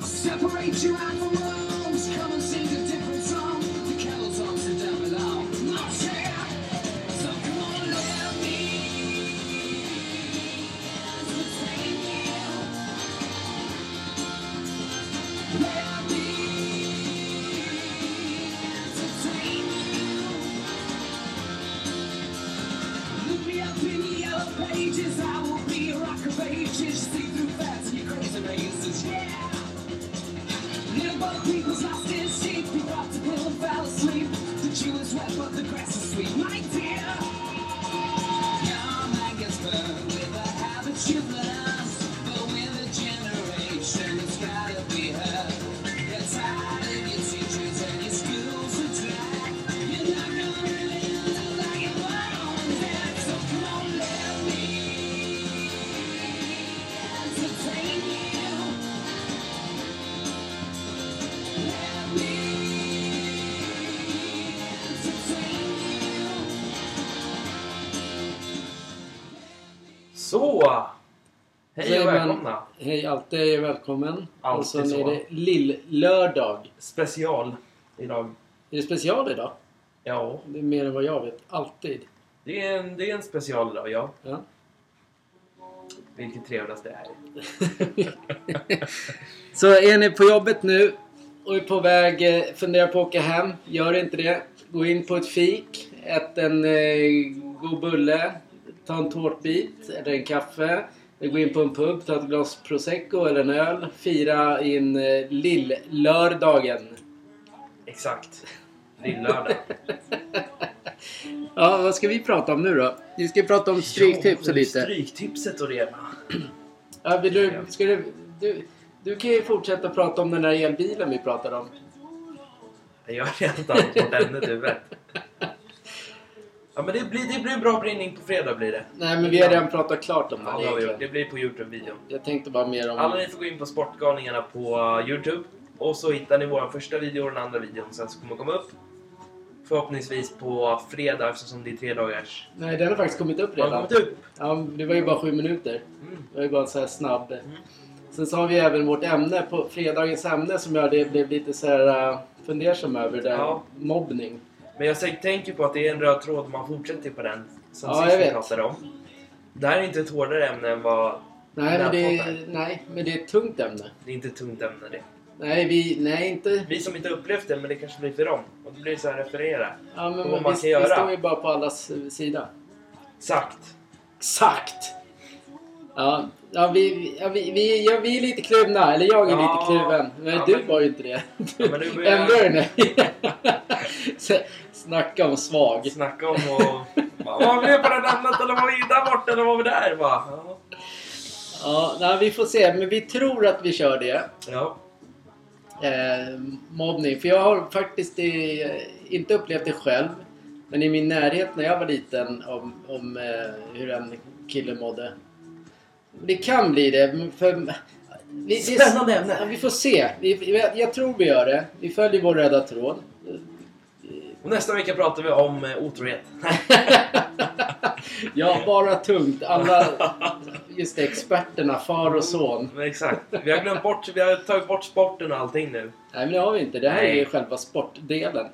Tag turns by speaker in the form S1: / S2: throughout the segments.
S1: Separate your animals. Come and sing a different song. The cattle's on to down below. Not fair. So come on, let me. Let me entertain you. Look me up in the yellow pages. I will be a rock of ages. See through fast and your crazy mazes. Yeah. Live by the people's lost in sheep. You rocked the pillow, fell asleep. The dew is wet, but the grass is sweet. My dear, your mind gets burned with the habits you've lost. But with a generation, it's gotta be her. You're tired of your teachers and your schools are dry. You're not gonna live like it was always there. So come on, let me entertain you. Let me entertain you.
S2: Så! Hej och
S3: men-
S2: välkomna!
S3: Hej, alltid är välkommen.
S2: Alltid
S3: och sen
S2: så.
S3: är det lill-lördag.
S2: Special idag.
S3: Är det special idag?
S2: Ja,
S3: Det är mer än vad jag vet. Alltid.
S2: det är en, det är en special idag, ja.
S3: Ja.
S2: Vilket trevligast det är.
S3: Så är ni på jobbet nu och är på väg, eh, funderar på att åka hem. Gör inte det. Gå in på ett fik. Ät en eh, god bulle. Ta en tårtbit eller en kaffe. Gå in på en pub, ta ett glas prosecco eller en öl. Fira in eh, lill-lördagen.
S2: Exakt. Lill-lördag.
S3: Ja, vad ska vi prata om nu då? Vi ska prata om stryktips
S2: Jo,
S3: och lite.
S2: Stryktipset och det. va?
S3: Ja, vill du, ska du, du, du kan ju fortsätta prata om den där elbilen vi pratade om.
S2: Jag gör redan på den i huvudet. Ja, men det blir, det blir en bra brinning på fredag blir det.
S3: Nej, men vi har redan pratat klart om
S2: Ja,
S3: den
S2: det, har vi gjort.
S3: egentligen.
S2: det blir på Youtube-videon.
S3: Jag tänkte bara mer om...
S2: Alla ni får gå in på Sportgalningarna på eh, Youtube. Och så hittar ni vår första video och den andra videon sen så kommer komma upp. Förhoppningsvis på fredag eftersom det är tre dagars.
S3: Nej, den har faktiskt kommit upp
S2: Har den
S3: redan.
S2: kommit upp?
S3: Ja, det var ju bara sju minuter.
S2: Mm.
S3: Det var ju bara så här snabb. Sen så har vi även vårt ämne, på fredagens ämne, som jag det blev lite så här äh, fundersam över. Det
S2: Ja.
S3: ja. Mobbning.
S2: Men jag säkert tänker på att det är en röd tråd man fortsätter på den som
S3: Ja,
S2: sist
S3: jag
S2: vi
S3: vet.
S2: pratade om. Det här är inte ett hårdare ämne än vad...
S3: Nej men, det,
S2: Näthatare.
S3: nej, men det är ett tungt ämne.
S2: Det är inte ett tungt ämne det.
S3: Nej, vi... Nej, inte...
S2: Vi som inte upplevt det, men det kanske blir för dem. Och det blir så här referera.
S3: Ja, men
S2: Vad
S3: vi,
S2: man kan
S3: vi
S2: göra.
S3: står ju bara på allas eh, sida.
S2: Exakt.
S3: Exakt! Ja, ja, vi, ja, vi, vi, ja, vi är lite kluvna. Eller jag är
S2: Ja,
S3: lite kluven. Men
S2: ja,
S3: du
S2: men-
S3: var ju inte det.
S2: Ja, men nu börjar-
S3: Ändå är det Snacka om svag.
S2: Snacka om och... Bara, Var vi med på något annat eller var vi där borta eller var vi där? Bara, ja.
S3: Ja, nej, vi får se. Men vi tror att vi kör det.
S2: ja.
S3: Eh, mobbning. För jag har faktiskt eh, inte upplevt det själv. Men i min närhet när jag var liten om, om eh, hur en kille mådde. Det kan bli det. men För, vi, det är-
S2: Spännande ämne.
S3: Ja, vi får se. Vi, jag, jag tror vi gör det. Vi följer vår röda tråd.
S2: Och nästa vecka pratar vi om eh, otrohet.
S3: Ja, bara tungt. Alla, just det, experterna, far och son.
S2: Men Exakt. Vi har glömt bort, vi har tagit bort sporten och allting nu.
S3: Nej, men det har vi inte. Det här är
S2: Nej.
S3: ju själva sportdelen.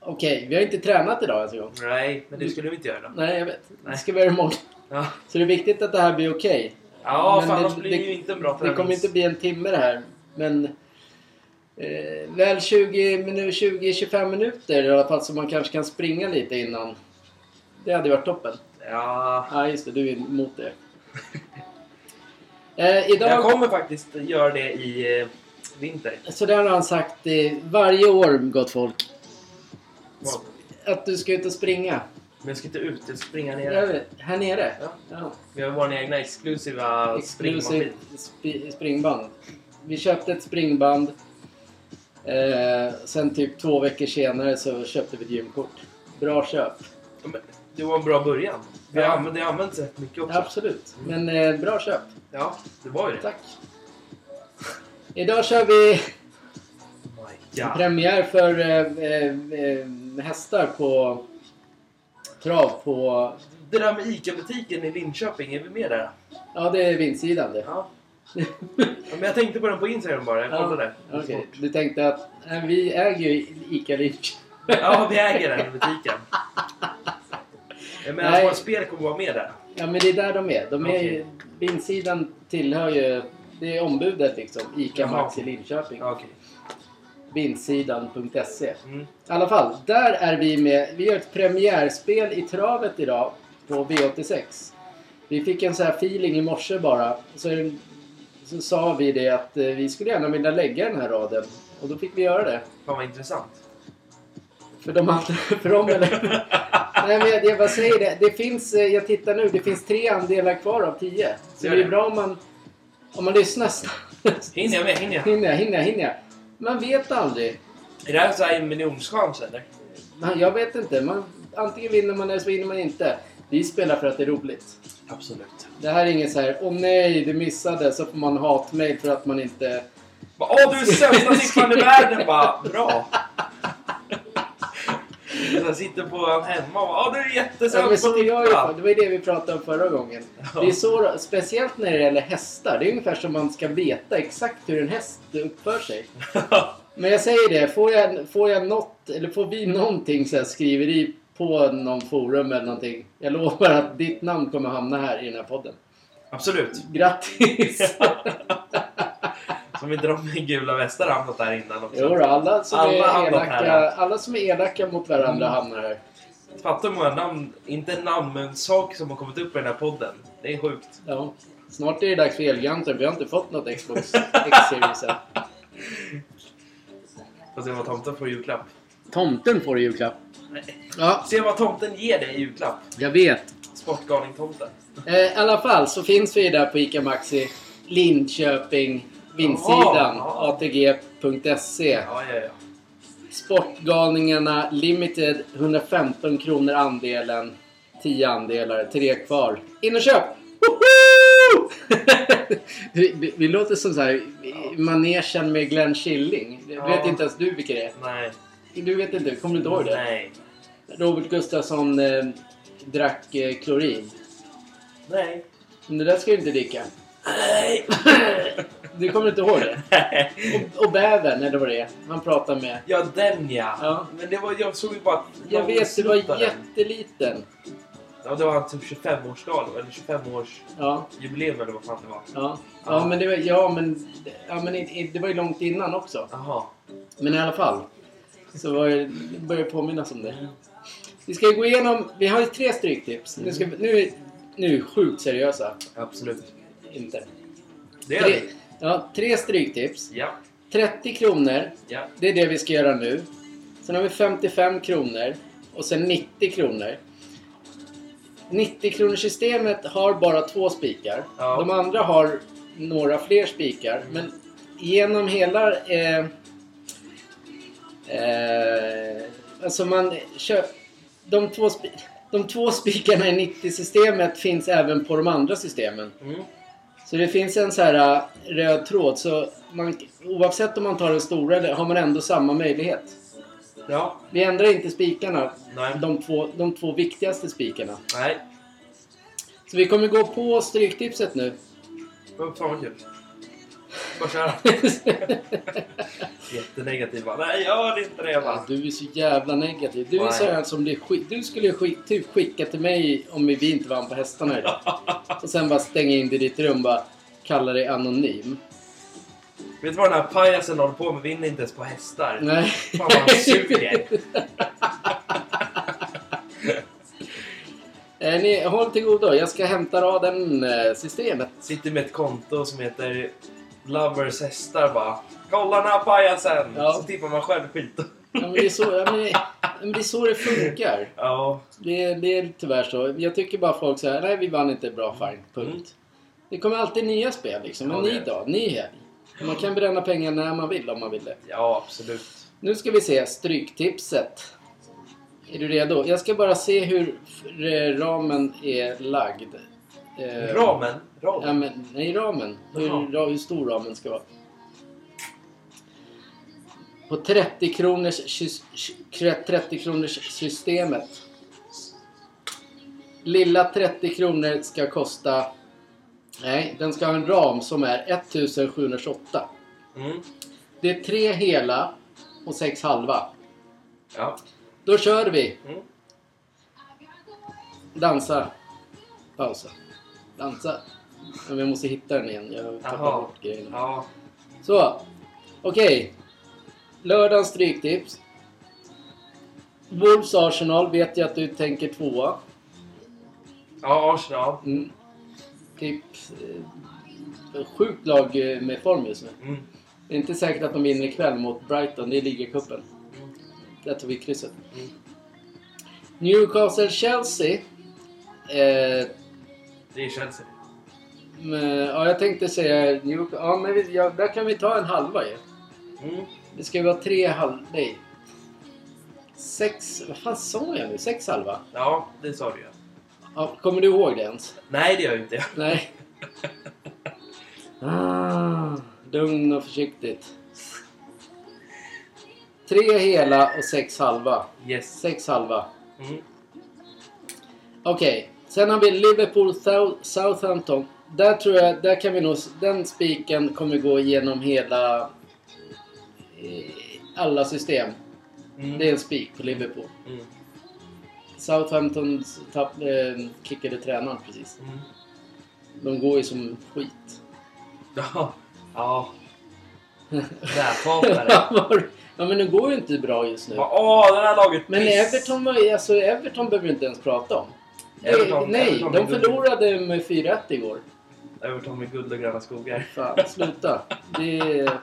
S3: Okej, vi har inte tränat idag alltså. ens en gång.
S2: Nej, men det skulle vi inte göra.
S3: Nej, jag vet.
S2: Nej.
S3: Det ska vi göra imorgon.
S2: Ja,
S3: Så det är viktigt att det här blir okej.
S2: ja
S3: Men
S2: fan,
S3: det-
S2: annars blir det ju inte en bra
S3: Det kommer inte bli en timme det här. Men eh, väl 20 minu- 20-25 minuter i alla fall så man kanske kan springa lite innan. Det hade varit toppen.
S2: Ja.
S3: Ja, just det. Du är emot det. Eh,
S2: Jag
S3: idag...
S2: kommer faktiskt göra det i eh, vinter.
S3: Så där har han sagt eh, varje år, gott folk.
S2: Vad?
S3: Att du ska ut och springa.
S2: Men jag ska inte ut, jag ska springa
S3: Där
S2: ner.
S3: är- Här nere?
S2: Ja.
S3: Ja.
S2: Vi har vår egna exklusiva
S3: Exclusive
S2: springmaskin.
S3: sp- springband. Vi köpte ett springband. Eh, sen typ två veckor senare så köpte vi ett gymkort. Bra köp.
S2: Ja, men Det var en bra början. Vi
S3: Ja.
S2: har använt, det har använts rätt mycket också.
S3: Absolut. Men eh, bra köp.
S2: Ja, det var ju det.
S3: Tack. Idag kör vi
S2: Oh my God.
S3: premiär för eh, eh, eh, hästar på trav på...
S2: Det där med ICA-butiken i Linköping, är vi med där?
S3: Ja, det är vindsidan det.
S2: Ja. Ja, Men jag tänkte på den på Instagram bara. Jag kollade.
S3: Ja, okej. Du tänkte att nej, vi äger ju ICA Linköping.
S2: Ja, vi äger den i butiken. Jag menar,
S3: Nej.
S2: våra spel kommer vara med där.
S3: Ja, men det är där de är. De är ju,
S2: Okej.
S3: vinsidan tillhör ju... Det är ombudet liksom. ICA
S2: Jaha.
S3: Maxi Linköping.
S2: Ja, Okej.
S3: Vindsidan.se.
S2: Mm.
S3: I alla fall, där är vi med. Vi gör ett premiärspel i travet idag på V86. Vi fick en så här feeling i morse bara. Så, är det- så sa vi det att eh, vi skulle gärna vilja lägga den här raden. Och då fick vi göra det.
S2: Fan vad intressant.
S3: För de andra, för dem eller? Nej men jag, jag bara säger det. Det finns, eh, jag tittar nu, det finns tre andelar kvar av tio. Så
S2: Gör
S3: det är
S2: det.
S3: bra om man, om man lyssnar snabbt.
S2: Hinner jag med? Hinner jag?
S3: Hinner jag, hinner jag, hinner jag. Man vet aldrig.
S2: Är det här så här en miljonschans eller?
S3: Man, jag vet inte. Man, antingen vinner man eller så vinner man inte. Vi spelar för att det är roligt.
S2: Absolut.
S3: Det här är inget så här, åh nej, du missade, så får man hatmejl för att man inte...
S2: Bara, Åh, du är sämsta siffran i världen! Bara, bra! Jag sitter på en hemma och bara, Åh, du är
S3: Ja, men
S2: jättesämst
S3: så
S2: på
S3: gör jag ju för-
S2: siffran!
S3: det var ju det vi pratade om förra gången.
S2: Ja.
S3: Det är så, speciellt när det gäller hästar. Det är ungefär som man ska veta exakt hur en häst uppför sig. Men jag säger det, får, jag, får, jag något, eller får vi någonting så här skriveri på någon forum eller någonting. Jag lovar att ditt namn kommer hamna här i den här podden.
S2: Absolut.
S3: Grattis!
S2: Som inte de med gula västar har hamnat där innan också.
S3: Jo, då, alla, som
S2: Alla
S3: är
S2: hamnar
S3: elaka,
S2: här. Mm.
S3: alla som är elaka mot varandra hamnar här.
S2: Fattar hur många namn, inte namn, men saker som har kommit upp i den här podden. Det är sjukt.
S3: Ja. Snart är det dags för Elgiganten. Vi har inte fått något Xbox X-series än.
S2: Får se vad tomten får i julklapp.
S3: Tomten får i julklapp. Ja,
S2: Se vad tomten ger dig i julklapp.
S3: jag vet.
S2: Sportgalning-tomten.
S3: Eh, I alla fall så finns vi där på ICA Maxi. Linköping, vindsidan,
S2: Jaha.
S3: atg.se.
S2: Ja, ja, ja.
S3: E. Sportgalningarna Limited, 115 kronor andelen. 10 andelar, tre kvar. In och köp! Woho! vi, vi, vi låter som så här, i manegen med Glenn Killing. Du
S2: Ja.
S3: vet inte ens du vilka det är.
S2: Nej.
S3: Du vet inte, kommer du inte ihåg det?
S2: Nej.
S3: Robert Gustafsson eh, drack eh, klorin.
S2: Nej.
S3: Men det där ska du inte dricka. Du kommer inte ihåg det? Och, och bävern, eller vad det är, han pratar med.
S2: ja, den ja.
S3: Ja.
S2: Men det var, jag såg ju bara att...
S3: Jag vet, du var
S2: avslutade den.
S3: jätteliten.
S2: Ja, det var hans typ 25-årsdag eller 25-årsjubileum
S3: Ja.
S2: eller vad fan det var.
S3: Ja, ja men, det var, ja, men, ja, men i- i- det var ju långt innan också.
S2: Jaha.
S3: Men i alla fall. Så var det, det börjar påminnas om det. Vi ska ju gå igenom, vi har ju tre stryktips. Nu, ska, vi- nu, är- nu är vi sjukt seriösa.
S2: Absolut.
S3: Inte.
S2: Det är
S3: Tre,
S2: det.
S3: ja, tre stryktips.
S2: Ja.
S3: 30 kronor,
S2: Ja.
S3: det är det vi ska göra nu. Sen har vi 55 kronor och sen 90 kronor. 90 kronors systemet har bara två spikar.
S2: Ja.
S3: De andra har några fler spikar. Men genom hela... Eh, eh, alltså man köp, de, två spi, de två spikarna i 90-systemet finns även på de andra systemen.
S2: Mm.
S3: Så det finns en så här äh, röd tråd. Så man, oavsett om man tar den stora eller- har man ändå samma möjlighet.
S2: Ja.
S3: Vi ändrar inte spikarna.
S2: Nej.
S3: De två, de två viktigaste spikarna.
S2: Nej.
S3: Så vi kommer gå på stryktipset nu.
S2: Men Fan vad kul. Bara köra. Jättenegativa. Nej, gör inte det
S3: Ja,
S2: va.
S3: du är så jävla negativ. Du är
S2: Nej.
S3: så här som blir skit. Du skulle ju skick, typ skicka till mig om vi inte vann på hästarna idag. Och sen bara stänga in dig i ditt rum bara kalla dig anonym.
S2: Vet du vad den här pajasen håller på med? Vinner inte ens på hästar.
S3: Nej.
S2: Fan vad han suger.
S3: Eh, Ni, håll till godo. Jag ska hämta raden eh, systemet.
S2: Sitter med ett konto som heter Lovers hästar bara. Kolla den här pajasen!
S3: Ja.
S2: Så tippar man själv skit.
S3: Ja, men det, är så, ja, men det, ja, men det är så det funkar.
S2: Ja.
S3: Det, är- det är tyvärr så. Jag tycker bara folk säger nej vi vann inte bra fine, punkt.
S2: Mm.
S3: Det kommer alltid nya spel liksom. En
S2: Ja, det
S3: ny
S2: är det.
S3: dag, ny helg. Man kan bränna pengar när man vill om man vill det.
S2: Ja, absolut.
S3: Nu ska vi se stryktipset. Är du redo? Jag ska bara se hur f- ramen är lagd. Eh,
S2: Ramen?
S3: Ja,
S2: Ramen?
S3: men, nej, ramen. Hur,
S2: Jaha.
S3: ra, hur stor ramen ska vara. På 30 kronors, sys- kre- 30 kronors systemet. Lilla 30 kronor ska kosta Nej, den ska ha en ram som är 1728.
S2: Mm.
S3: Det är tre hela och sex halva.
S2: Ja.
S3: Då kör vi!
S2: Mm.
S3: Dansa. Pausa. Dansa. Men jag måste hitta den igen. Jag tappar
S2: Jaha.
S3: bort grejerna.
S2: Ja.
S3: Så. Okej. Lördagens stryktips. Wolves Arsenal vet jag att du tänker tvåa.
S2: Ja, Arsenal.
S3: Mm. Typ... eh, Sjukt lag eh, med form just nu.
S2: Mm.
S3: Det är inte säkert att de vinner ikväll mot Brighton. Det är ligacupen.
S2: Mm.
S3: Där tog vi krysset.
S2: Mm.
S3: Newcastle-Chelsea. Eh,
S2: Det är Chelsea.
S3: men, ja, jag tänkte säga Newcastle. Ja, men vi, ja, där kan vi ta en halva ju.
S2: Mm.
S3: Det ska ju vara tre halv... Nej. Sex... Vad fan sa jag nu? Sex halva?
S2: Ja, det sa du ju.
S3: Ja, kommer du ihåg det ens?
S2: Nej, det gör jag inte.
S3: Nej. Ah, lugn och försiktigt. Tre hela och sex halva.
S2: Yes.
S3: Sex halva.
S2: Mm.
S3: Okej, sen har vi Liverpool Thou- Southampton. Där tror jag, där kan vi nog, den spiken kommer gå igenom hela, eh, alla system.
S2: Mm.
S3: Det är en spik på Liverpool.
S2: Mm.
S3: Southampton tapp, eh, kickade tränaren precis.
S2: Mm.
S3: De går ju som skit.
S2: Ja. Ja. Där hatar det.
S3: ja men de går ju inte bra just nu.
S2: Åh, det här laget
S3: Men
S2: piss.
S3: Everton, var, ju- alltså, Everton behöver vi inte ens prata om. Eh,
S2: Everton-
S3: nej,
S2: Everton
S3: de
S2: är guld.
S3: förlorade med 4-1 igår.
S2: Everton med guld och gröna skogar.
S3: Fan, sluta. Det är,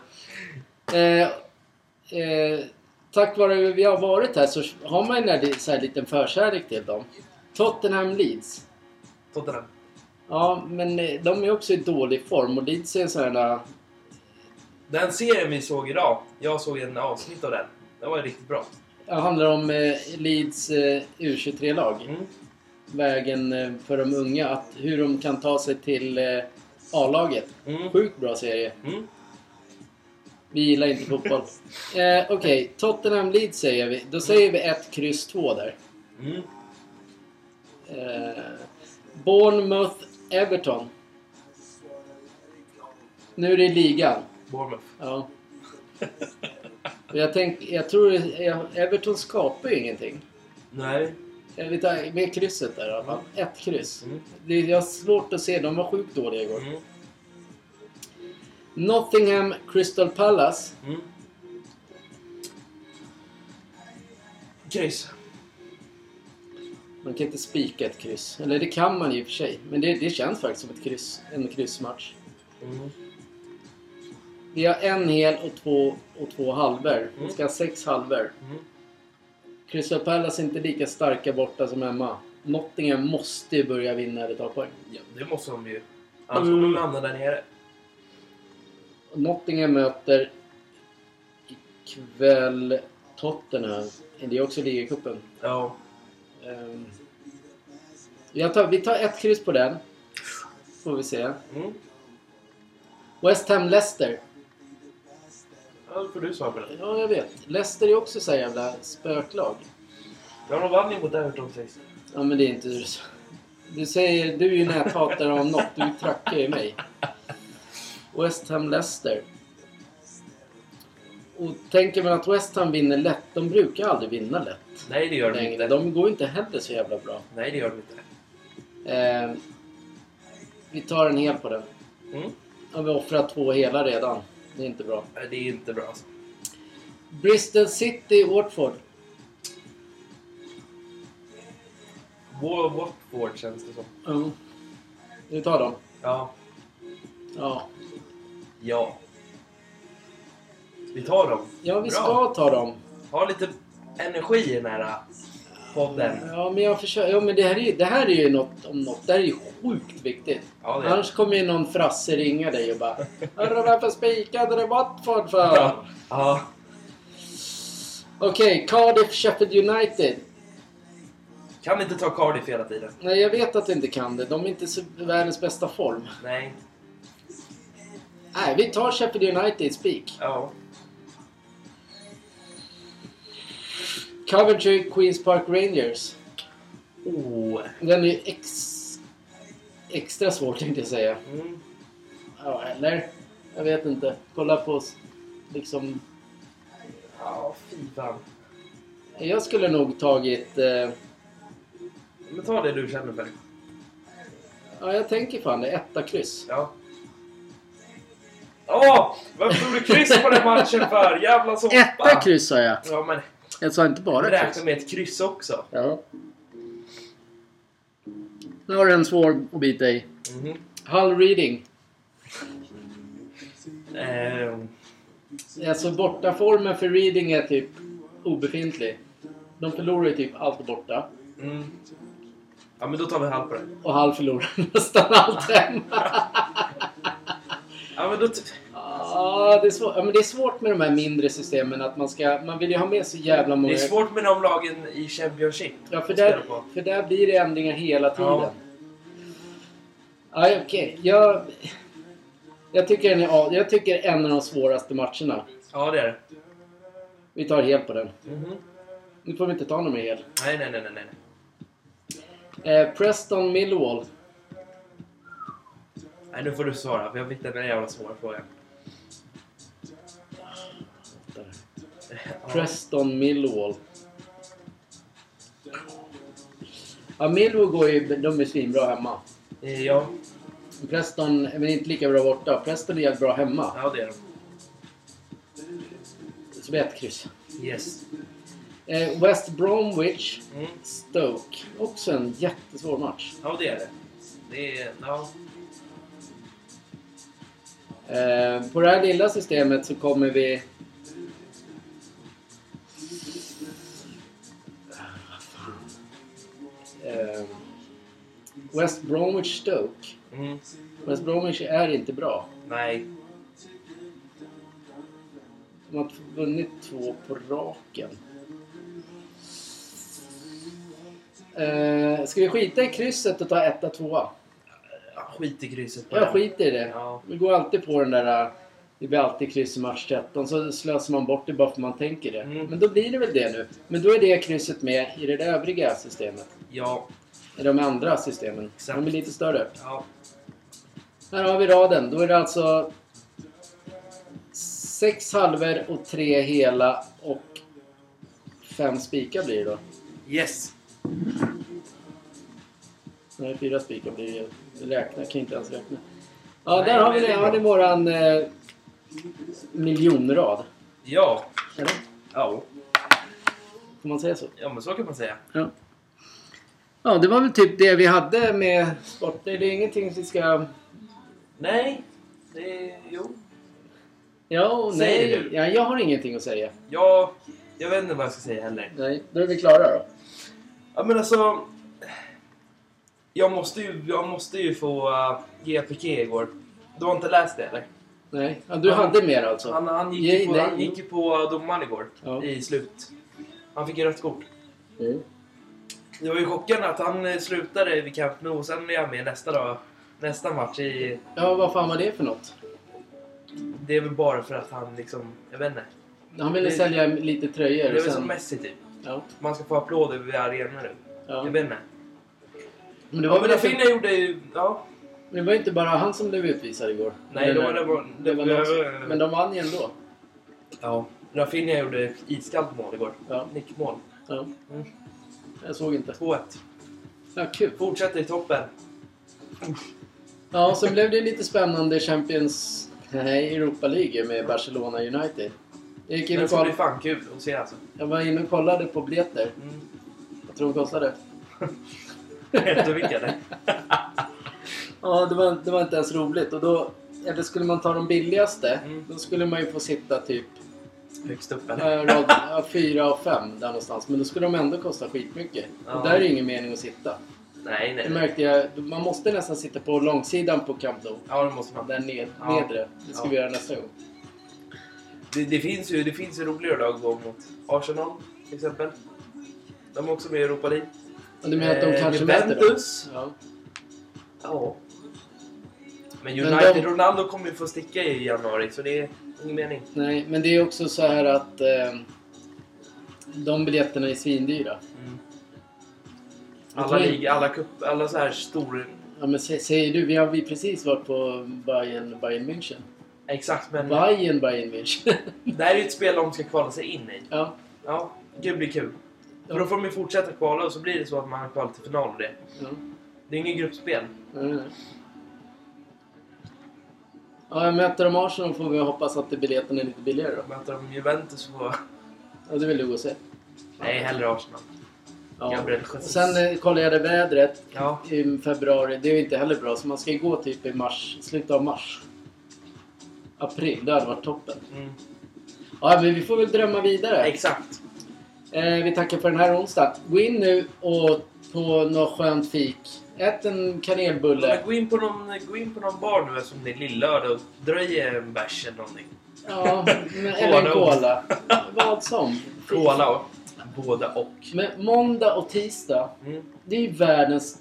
S3: eh, eh, tack vare vi har varit här så har man ju en här- så här liten förkärlek till dem. Tottenham Leeds.
S2: Tottenham.
S3: Ja, men eh, de är också i dålig form och Leeds är en sån här...
S2: Den serien vi såg idag, jag såg en avsnitt av den. Den var ju riktigt bra.
S3: Det handlar om eh, Leeds eh, U23-lag.
S2: Mm.
S3: Vägen eh, för de unga, att hur de kan ta sig till eh, A-laget.
S2: Mm.
S3: Sjukt bra serie.
S2: Mm.
S3: Vi gillar inte fotboll. Eh, Okej, Tottenham Leeds säger vi. Då säger vi ett kryss två där.
S2: Mm.
S3: Eh, Bournemouth Everton. Nu är det ligan.
S2: Bournemouth.
S3: Ja. Och Jag, tänk, jag tror jag- Everton skapar ju ingenting.
S2: Nej.
S3: Eh, Vi tar med krysset där i alla fall. Ett kryss.
S2: Mm.
S3: Det, jag har svårt att se. De var sjukt dåliga igår.
S2: Mm.
S3: Nottingham Crystal Palace.
S2: Mm. Kryss.
S3: Man kan inte spika ett kryss. Eller det kan man ju i och för sig. Men det, det känns faktiskt som ett kryss, en kryssmatch.
S2: Mm.
S3: Vi har en hel och två, och två halver. Vi
S2: Mm.
S3: ska ha sex halver.
S2: Mm.
S3: Crystal Palace är inte lika starka borta som hemma. Nottingham måste ju börja vinna eller ta poäng.
S2: Ja, det måste de ju. Annars kommer
S3: Mm.
S2: de hamna där nere.
S3: Nottingham möter ikväll Tottenham. Det är också ligacupen.
S2: Ja.
S3: Ehm, jag tar, vi tar ett kryss på den. Får vi se.
S2: Mm.
S3: West Ham Leicester.
S2: Ja, då får du svara på det.
S3: Ja, jag vet. Leicester är också så här jävla spöklag.
S2: Ja, de vann ju mot Everton sist.
S3: Ja, men det är inte du så. Du säger, du är ju näthatare om något. Du trackar ju mig. West Ham Leicester. Och tänker man att West Ham vinner lätt, de brukar aldrig vinna lätt.
S2: Nej, det gör de
S3: längre.
S2: inte.
S3: De går ju inte heller så jävla bra.
S2: Nej, det gör de inte.
S3: Eh, vi tar en hel på den.
S2: Mm.
S3: Ja, vi offrat två hela redan. Det är inte bra.
S2: Nej, det är inte bra alltså.
S3: Bristol City, Watford.
S2: Wa- Watford känns det som.
S3: Mm. Vi tar dem.
S2: Ja.
S3: Ja,
S2: Ja. Vi tar dem.
S3: ja vi
S2: Bra.
S3: ska ta dem.
S2: Ha lite energi i den här äh, podden.
S3: Ja, men jag försöker. Ja, men det här är ju, det här är ju något om något. Det här är ju sjukt viktigt.
S2: Ja, det är det.
S3: Annars kommer ju någon frasse ringa dig och bara Hörru, varför spikade du Watford för?
S2: Ja. ja.
S3: Okej, Cardiff Sheffield United.
S2: Kan inte ta Cardiff hela tiden.
S3: Nej, jag vet att du inte kan det. De är inte så- världens bästa form.
S2: Nej.
S3: Nej, vi tar Sheffield United spik.
S2: Ja.
S3: Coventry Queens Park Rangers.
S2: Oh.
S3: Den är ju ex... extra svårt tänkte jag säga.
S2: Mm.
S3: Ja, eller? Jag vet inte. Kolla på oss. Liksom...
S2: Ja, fy fan.
S3: Jag skulle nog tagit... Eh,
S2: Men ta det du känner för.
S3: ja, jag tänker fan det. Etta kryss.
S2: Ja. Åh! Varför tog du kryss på den matchen för? Jävla soppa!
S3: Etta kryss sa jag.
S2: Ja, men
S3: Jag sa inte bara kryss.
S2: räkna med ett kryss också.
S3: Ja. Nu har du en svår att bita i.
S2: Mhm.
S3: Hull reading.
S2: Ehm,
S3: Alltså bortaformen för reading är typ obefintlig. De förlorar ju typ allt borta.
S2: mm. Ja, men då tar vi halv på det.
S3: Och Hull förlorar nästan allt hemma.
S2: Ja, men då... T-
S3: Ja, det, är svårt. ja, men det är svårt med de här mindre systemen. Att man, ska, man vill ju ha med så jävla många...
S2: det är svårt med de lagen i Championship.
S3: Ja, för
S2: att
S3: där,
S2: spela på.
S3: för där blir det ändringar hela tiden.
S2: Ja.
S3: Ja. Okej, jag, jag, tycker den är, av- jag tycker en av de svåraste matcherna.
S2: Ja, det är det.
S3: Vi tar hel på den.
S2: Mhm.
S3: Nu får vi inte ta någon mer hel.
S2: Nej, nej, nej, nej, nej.
S3: Eh, Preston Millwall.
S2: Nej, nu får du svara, för jag fick den där jävla svåra frågan.
S3: Där.
S2: Ja.
S3: Preston Millwall. Ja, Millwall går ju, de är svinbra hemma.
S2: Eh, Ja,
S3: Preston, men inte lika bra borta. Preston är jävligt bra hemma.
S2: ja det är de.
S3: Så vi har ett kryss.
S2: Yes.
S3: Eh, West Bromwich
S2: Mm.
S3: Stoke. Också en jättesvår match.
S2: Ja, det är det. Det är... Ja.
S3: Eh, på det här lilla systemet så kommer vi... Ah, fan. Eh, West Bromwich Stoke.
S2: Mm.
S3: West Bromwich är inte bra.
S2: Nej.
S3: De har vunnit två på raken. Eh, ska vi skita i krysset och ta etta, tvåa?
S2: Ja, Skit i krysset på
S3: Jag
S2: den.
S3: skiter i det.
S2: Ja.
S3: Vi går alltid på den där... äh, Det blir alltid kryss i match 13. Så slösar man bort det bara för att man tänker det.
S2: Mm.
S3: Men då blir det väl det nu. Men då är det krysset med i det där övriga systemet.
S2: Ja.
S3: I de andra systemen.
S2: Exakt.
S3: De är lite större.
S2: Ja.
S3: Här har vi raden. Då är det alltså... Sex halver och tre hela och fem spikar blir det då.
S2: Yes.
S3: Nej, fyra spikar blir det ju. Räkna, kan inte ens räkna. Ja,
S2: Nej,
S3: där har vi
S2: men det
S3: det.
S2: är
S3: Har
S2: bra.
S3: ni våran eh, miljonrad.
S2: Ja.
S3: Eller?
S2: Ja.
S3: Får man säga så?
S2: Ja, men så kan man säga.
S3: Ja. Ja, det var väl typ det vi hade med sport. Det är ingenting vi ska...
S2: Nej. Det... Jo.
S3: Ja, och
S2: Säger
S3: nej.
S2: du?
S3: Ja, jag har ingenting att säga.
S2: Ja. Jag vet inte vad jag ska säga heller.
S3: Nej, då är vi klara då.
S2: Ja, men alltså... Jag måste ju, jag måste ju få uh, GPK igår. Du har inte läst det, eller?
S3: Nej, ja, du
S2: Han-
S3: hade mer alltså?
S2: Han, han gick
S3: Nej,
S2: ju på,
S3: nej,
S2: han gick ju på domaren igår.
S3: Ja.
S2: I slut. Han fick ju rött kort.
S3: Mm.
S2: Det var ju chockande att han eh, slutade vid Camp Nou och sen är han med nästa dag. Nästa match i...
S3: Ja, vad fan var det för något?
S2: Det är väl bara för att han liksom... Jag vet inte.
S3: Han ville
S2: Det-
S3: sälja lite
S2: Det
S3: tröjor
S2: är
S3: och
S2: väl som
S3: sen...
S2: Messi typ.
S3: Ja,
S2: Man ska få applåder vid arenan nu. Jag
S3: ja.
S2: vet inte.
S3: Men det
S2: Ja,
S3: var
S2: men
S3: väl
S2: det
S3: inte,
S2: fina gjorde ju... Ja.
S3: det var ju inte bara han som blev utvisad igår.
S2: Nej, det
S3: Men,
S2: var det
S3: eh,
S2: var...
S3: det var någon som- Men
S2: men
S3: de vann ju ändå.
S2: Ja. Rafinha gjorde ett iskallt mål igår.
S3: Ja.
S2: Nickmål.
S3: ja.
S2: Mm.
S3: Jag såg inte.
S2: 2-1.
S3: Ja, kul.
S2: Fortsätter i toppen.
S3: Ja, sen blev det lite spännande Champions... Nej, Europa League med Barcelona United. Jag, gick in
S2: Det
S3: och
S2: ska bli
S3: koll...
S2: fan kul att se alltså.
S3: jag var inne och kollade på biljetter.
S2: Mm.
S3: Vad tror de kostade?
S2: Jättevikt eller?
S3: Ja, det var, det var inte ens roligt. Och då, eller skulle man ta de billigaste,
S2: Mm.
S3: då skulle man ju få sitta typ
S2: Högst upp
S3: eh,
S2: eller?
S3: rad ja, fyra och fem där någonstans. Men då skulle de ändå kosta skitmycket.
S2: Ja.
S3: Och där är ju ingen mening att sitta.
S2: Nej, nej.
S3: Det
S2: nej.
S3: märkte jag. Man måste nästan sitta på långsidan på Camp Nou.
S2: Ja, det måste man.
S3: Där ned,
S2: Ja.
S3: nedre. Det ska
S2: Ja.
S3: vi göra nästa gång.
S2: Det, det, finns ju, det finns ju roligare lag att gå mot. Arsenal till exempel. De är också med i Europa League.
S3: Och du menar att de
S2: Eh,
S3: kanske möter dem?
S2: Juventus.
S3: Ja.
S2: Ja. Men
S3: Men
S2: United,
S3: de-
S2: Ronaldo kommer ju få sticka i januari så det är ingen mening.
S3: Nej, men det är också så här att eh, de biljetterna är svindyra.
S2: Mm.
S3: Jag
S2: Alla
S3: tror-
S2: lig, alla cup, alla så här stor
S3: Ja, men sä- säger du, vi har vi precis varit på Bayern, Bayern München.
S2: Exakt, men
S3: Bayern, Bayern München.
S2: det här är ju ett spel de ska kvala sig in i.
S3: ja.
S2: Ja, det blir kul. För då får de ju fortsätta kvala och så blir det så att man kvalar till final och det.
S3: ja.
S2: Det är inget gruppspel.
S3: Nej, nej. Ja, jag möter de Arsenal får vi hoppas att biljetten är lite billigare då.
S2: Möter de Juventus så...
S3: Ja, det vill du gå och se.
S2: Nej, hellre Arsenal.
S3: Ja.
S2: Gabriel
S3: Och
S2: Jesus.
S3: Sen eh, kollade jag det vädret
S2: Ja,
S3: i februari. Det är ju inte heller bra, så man ska ju gå typ i mars, slutet av mars. April, det hade varit toppen.
S2: mm,
S3: Ja, men vi får väl drömma vidare.
S2: exakt.
S3: Eh, vi tackar för den här onsdagen. Gå in nu och på något skönt fik. Ät en kanelbulle.
S2: Men gå, in på någon, gå in på någon bar nu eftersom det är lillördag och dröj en bärs eller någonting.
S3: Ja, men- eller en
S2: Hårda ord.
S3: cola. Vad som.
S2: Cola och... Båda och.
S3: Men måndag och tisdag,
S2: Mm,
S3: det är ju världens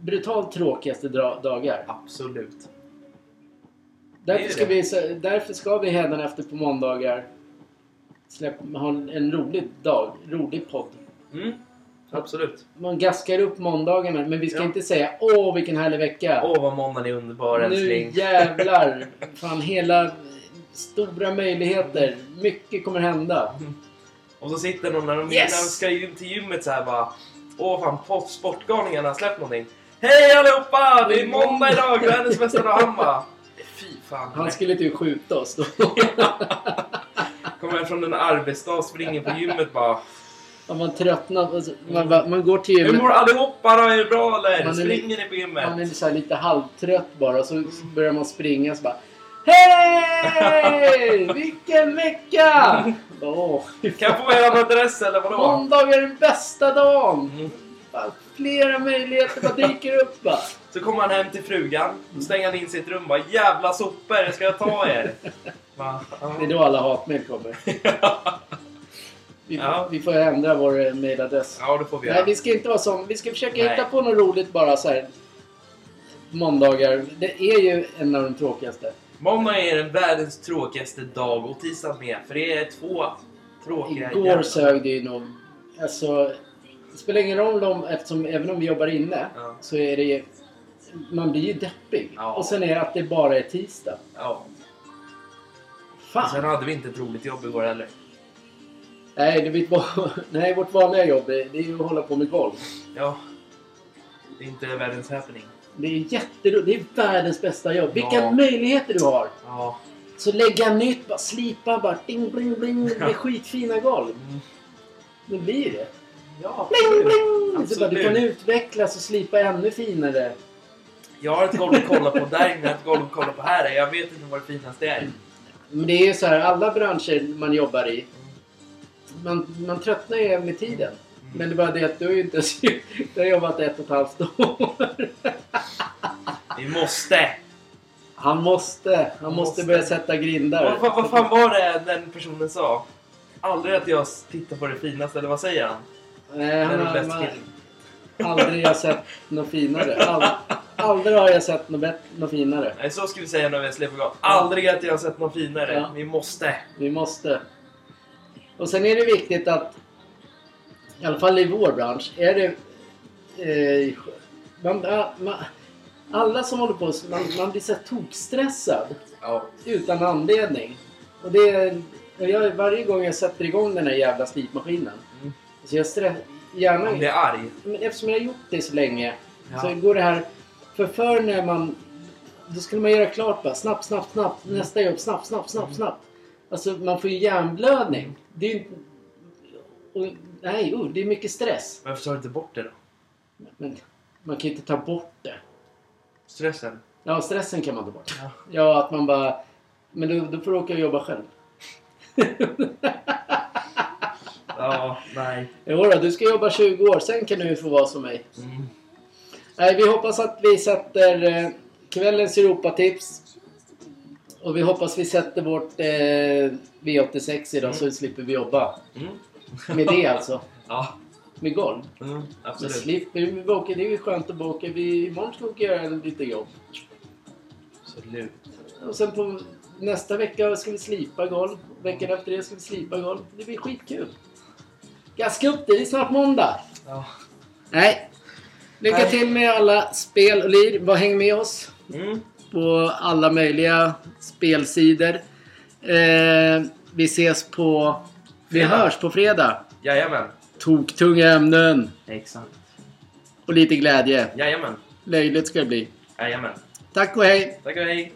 S3: brutalt tråkigaste dra- dagar.
S2: absolut. är
S3: Därför
S2: ju
S3: ska,
S2: det.
S3: vi, så- därför ska vi hädanefter på måndagar släpp, ha en- en rolig dag, rolig podd.
S2: Mm, absolut.
S3: Man gaskar upp måndagarna, men vi ska
S2: Ja.
S3: inte säga åh vilken härlig vecka.
S2: Åh, vad måndagen är underbar
S3: nu
S2: älskling.
S3: jävlar! Fan, hela stora möjligheter. Mycket kommer hända.
S2: Och så sitter någon när de,
S3: Yes!
S2: när de ska in till gymmet så här bara Åh fan, pot- sportgalningarna har släppt någonting. Hej allihopa! Det är måndag idag, världens bästa dag. Han bara... Fy fan.
S3: Han skulle typ skjuta oss då.
S2: Kommer hem från en arbetsdag, springer på gymmet bara.
S3: Om man tröttnar. alltså, Man, bara- man går till
S2: Hur
S3: gymmet.
S2: mår allihopa då? Är det bra eller?
S3: Man är-
S2: Springer ni på
S3: Man är
S2: gymmet?
S3: så här lite halvtrött bara och så börjar man springa så bara Hej! Vilken vecka! Åh,
S2: Kan jag få er adress eller vadå?
S3: måndag är den bästa dagen!
S2: Mm.
S3: Fan, Flera möjligheter bara dyker upp va?
S2: Så kommer han hem till frugan, och stänger han in sitt rum bara Jävla sopor, jag ska ta er! Va?
S3: Det är då alla hatmejl kommer. Vi,
S2: Ja.
S3: vi får ändra vår eh, mejladress.
S2: Ja, det får vi
S3: Nej,
S2: göra.
S3: vi ska inte vara sån. Vi ska försöka
S2: Nej.
S3: hitta på något roligt bara så här. Måndagar. Det är ju en av de tråkigaste.
S2: Måndag är den världens tråkigaste dag och tisdag med, för det är två tråkiga
S3: Igår
S2: jävla-
S3: sög det ju nog... Alltså, det spelar ingen roll om, eftersom även om vi jobbar inne
S2: Ja.
S3: så är det ju... Man blir ju deppig.
S2: Ja.
S3: Och sen är det att det bara är tisdag.
S2: Ja. Och sen
S3: Fan!
S2: hade vi inte ett roligt jobb igår heller.
S3: Nej, det är mitt, va- nej, vårt vanliga jobb det det är ju att hålla på med golv.
S2: Ja. Det är inte världens happening.
S3: Det är jätteroligt. Det är världens bästa jobb. Vilka
S2: Ja.
S3: möjligheter du har!
S2: Ja.
S3: Så lägga nytt, bara slipa, bara ding, bling, bling. Det blir
S2: Ja.
S3: skitfina golv.
S2: Mm.
S3: Det blir det.
S2: Ja,
S3: Bling,
S2: absolut.
S3: bling. Så bara, du
S2: Absolut.
S3: kan utvecklas och slipa ännu finare.
S2: Jag har ett golv att kolla på där inne, ett golv att kolla på här. Jag vet inte vad det finaste är.
S3: Men det är ju så här, alla branscher man jobbar i, man, man tröttnar ju med tiden. Men det är bara det att du har ju inte ens- du har jobbat ett och ett halvt år.
S2: Vi måste!
S3: Han måste, han måste,
S2: måste.
S3: börja sätta grindar.
S2: Vad, vad, vad fan var det den personen sa? Aldrig att jag tittar på det finaste, eller vad säger han?
S3: Nej, han
S2: Den är
S3: har,
S2: bäst
S3: man,
S2: killen.
S3: aldrig har jag sett något finare. Ald, aldrig har jag sett något, bett- något finare.
S2: Nej, så ska vi säga när vi släpper igång. Aldrig att jag har sett någon finare.
S3: Ja.
S2: Vi måste!
S3: Vi måste. Och sen är det viktigt att, i alla fall i vår bransch, är det... Eh, man, ja, man, alla som håller på, man, man blir så här tokstressad
S2: Ja.
S3: utan anledning. Och det är, och jag, varje gång jag sätter igång den här jävla slipmaskinen,
S2: Mm.
S3: så jag stress, gärna,
S2: Man blir arg.
S3: men eftersom jag har gjort det så länge,
S2: Ja.
S3: så går det här... För förr när man... Då skulle man göra klart bara. Snabbt, snabbt, snabbt.
S2: Mm.
S3: Nästa jobb. Snabbt, snabbt, snabbt, snabbt. Alltså man får ju hjärnblödning. Det är ju inte... Och, nej, oh, det är mycket stress.
S2: Varför tar du inte bort det då?
S3: Men man kan ju inte ta bort det.
S2: Stressen?
S3: Ja, stressen kan man ta bort.
S2: Ja.
S3: Ja, att man bara... Men då, då får du åka och jobba själv.
S2: Ja, nej.
S3: Jo då, du ska jobba 20 år, sen kan du få vara som mig.
S2: Mm.
S3: Nej, vi hoppas att vi sätter eh, kvällens Europatips. Och vi hoppas vi sätter vårt eh, V86 idag så slipper vi jobba.
S2: Mm.
S3: Med det alltså.
S2: Ja,
S3: Med golv.
S2: mm.
S3: Men
S2: absolut.
S3: slipper vi åka, det är ju skönt att åka. Vi, imorgon ska vi åka och göra lite jobb.
S2: absolut.
S3: Och sen på nästa vecka ska vi slipa golv. Veckan efter det ska vi slipa golv. Det blir skitkul. Gaska upp det, det är snart måndag.
S2: Ja.
S3: Nej. Lycka
S2: Nej.
S3: till med alla spel och lir. Bara häng med oss
S2: Mm.
S3: på alla möjliga spelsidor. Eh, vi ses på... Vi
S2: Fredag.
S3: hörs på fredag.
S2: Jajamän.
S3: Toktunga ämnen
S2: Exakt.
S3: och lite glädje.
S2: Jajamän.
S3: Löjligt ska det bli.
S2: Jajamän.
S3: Tack och hej!
S2: Tack och hej.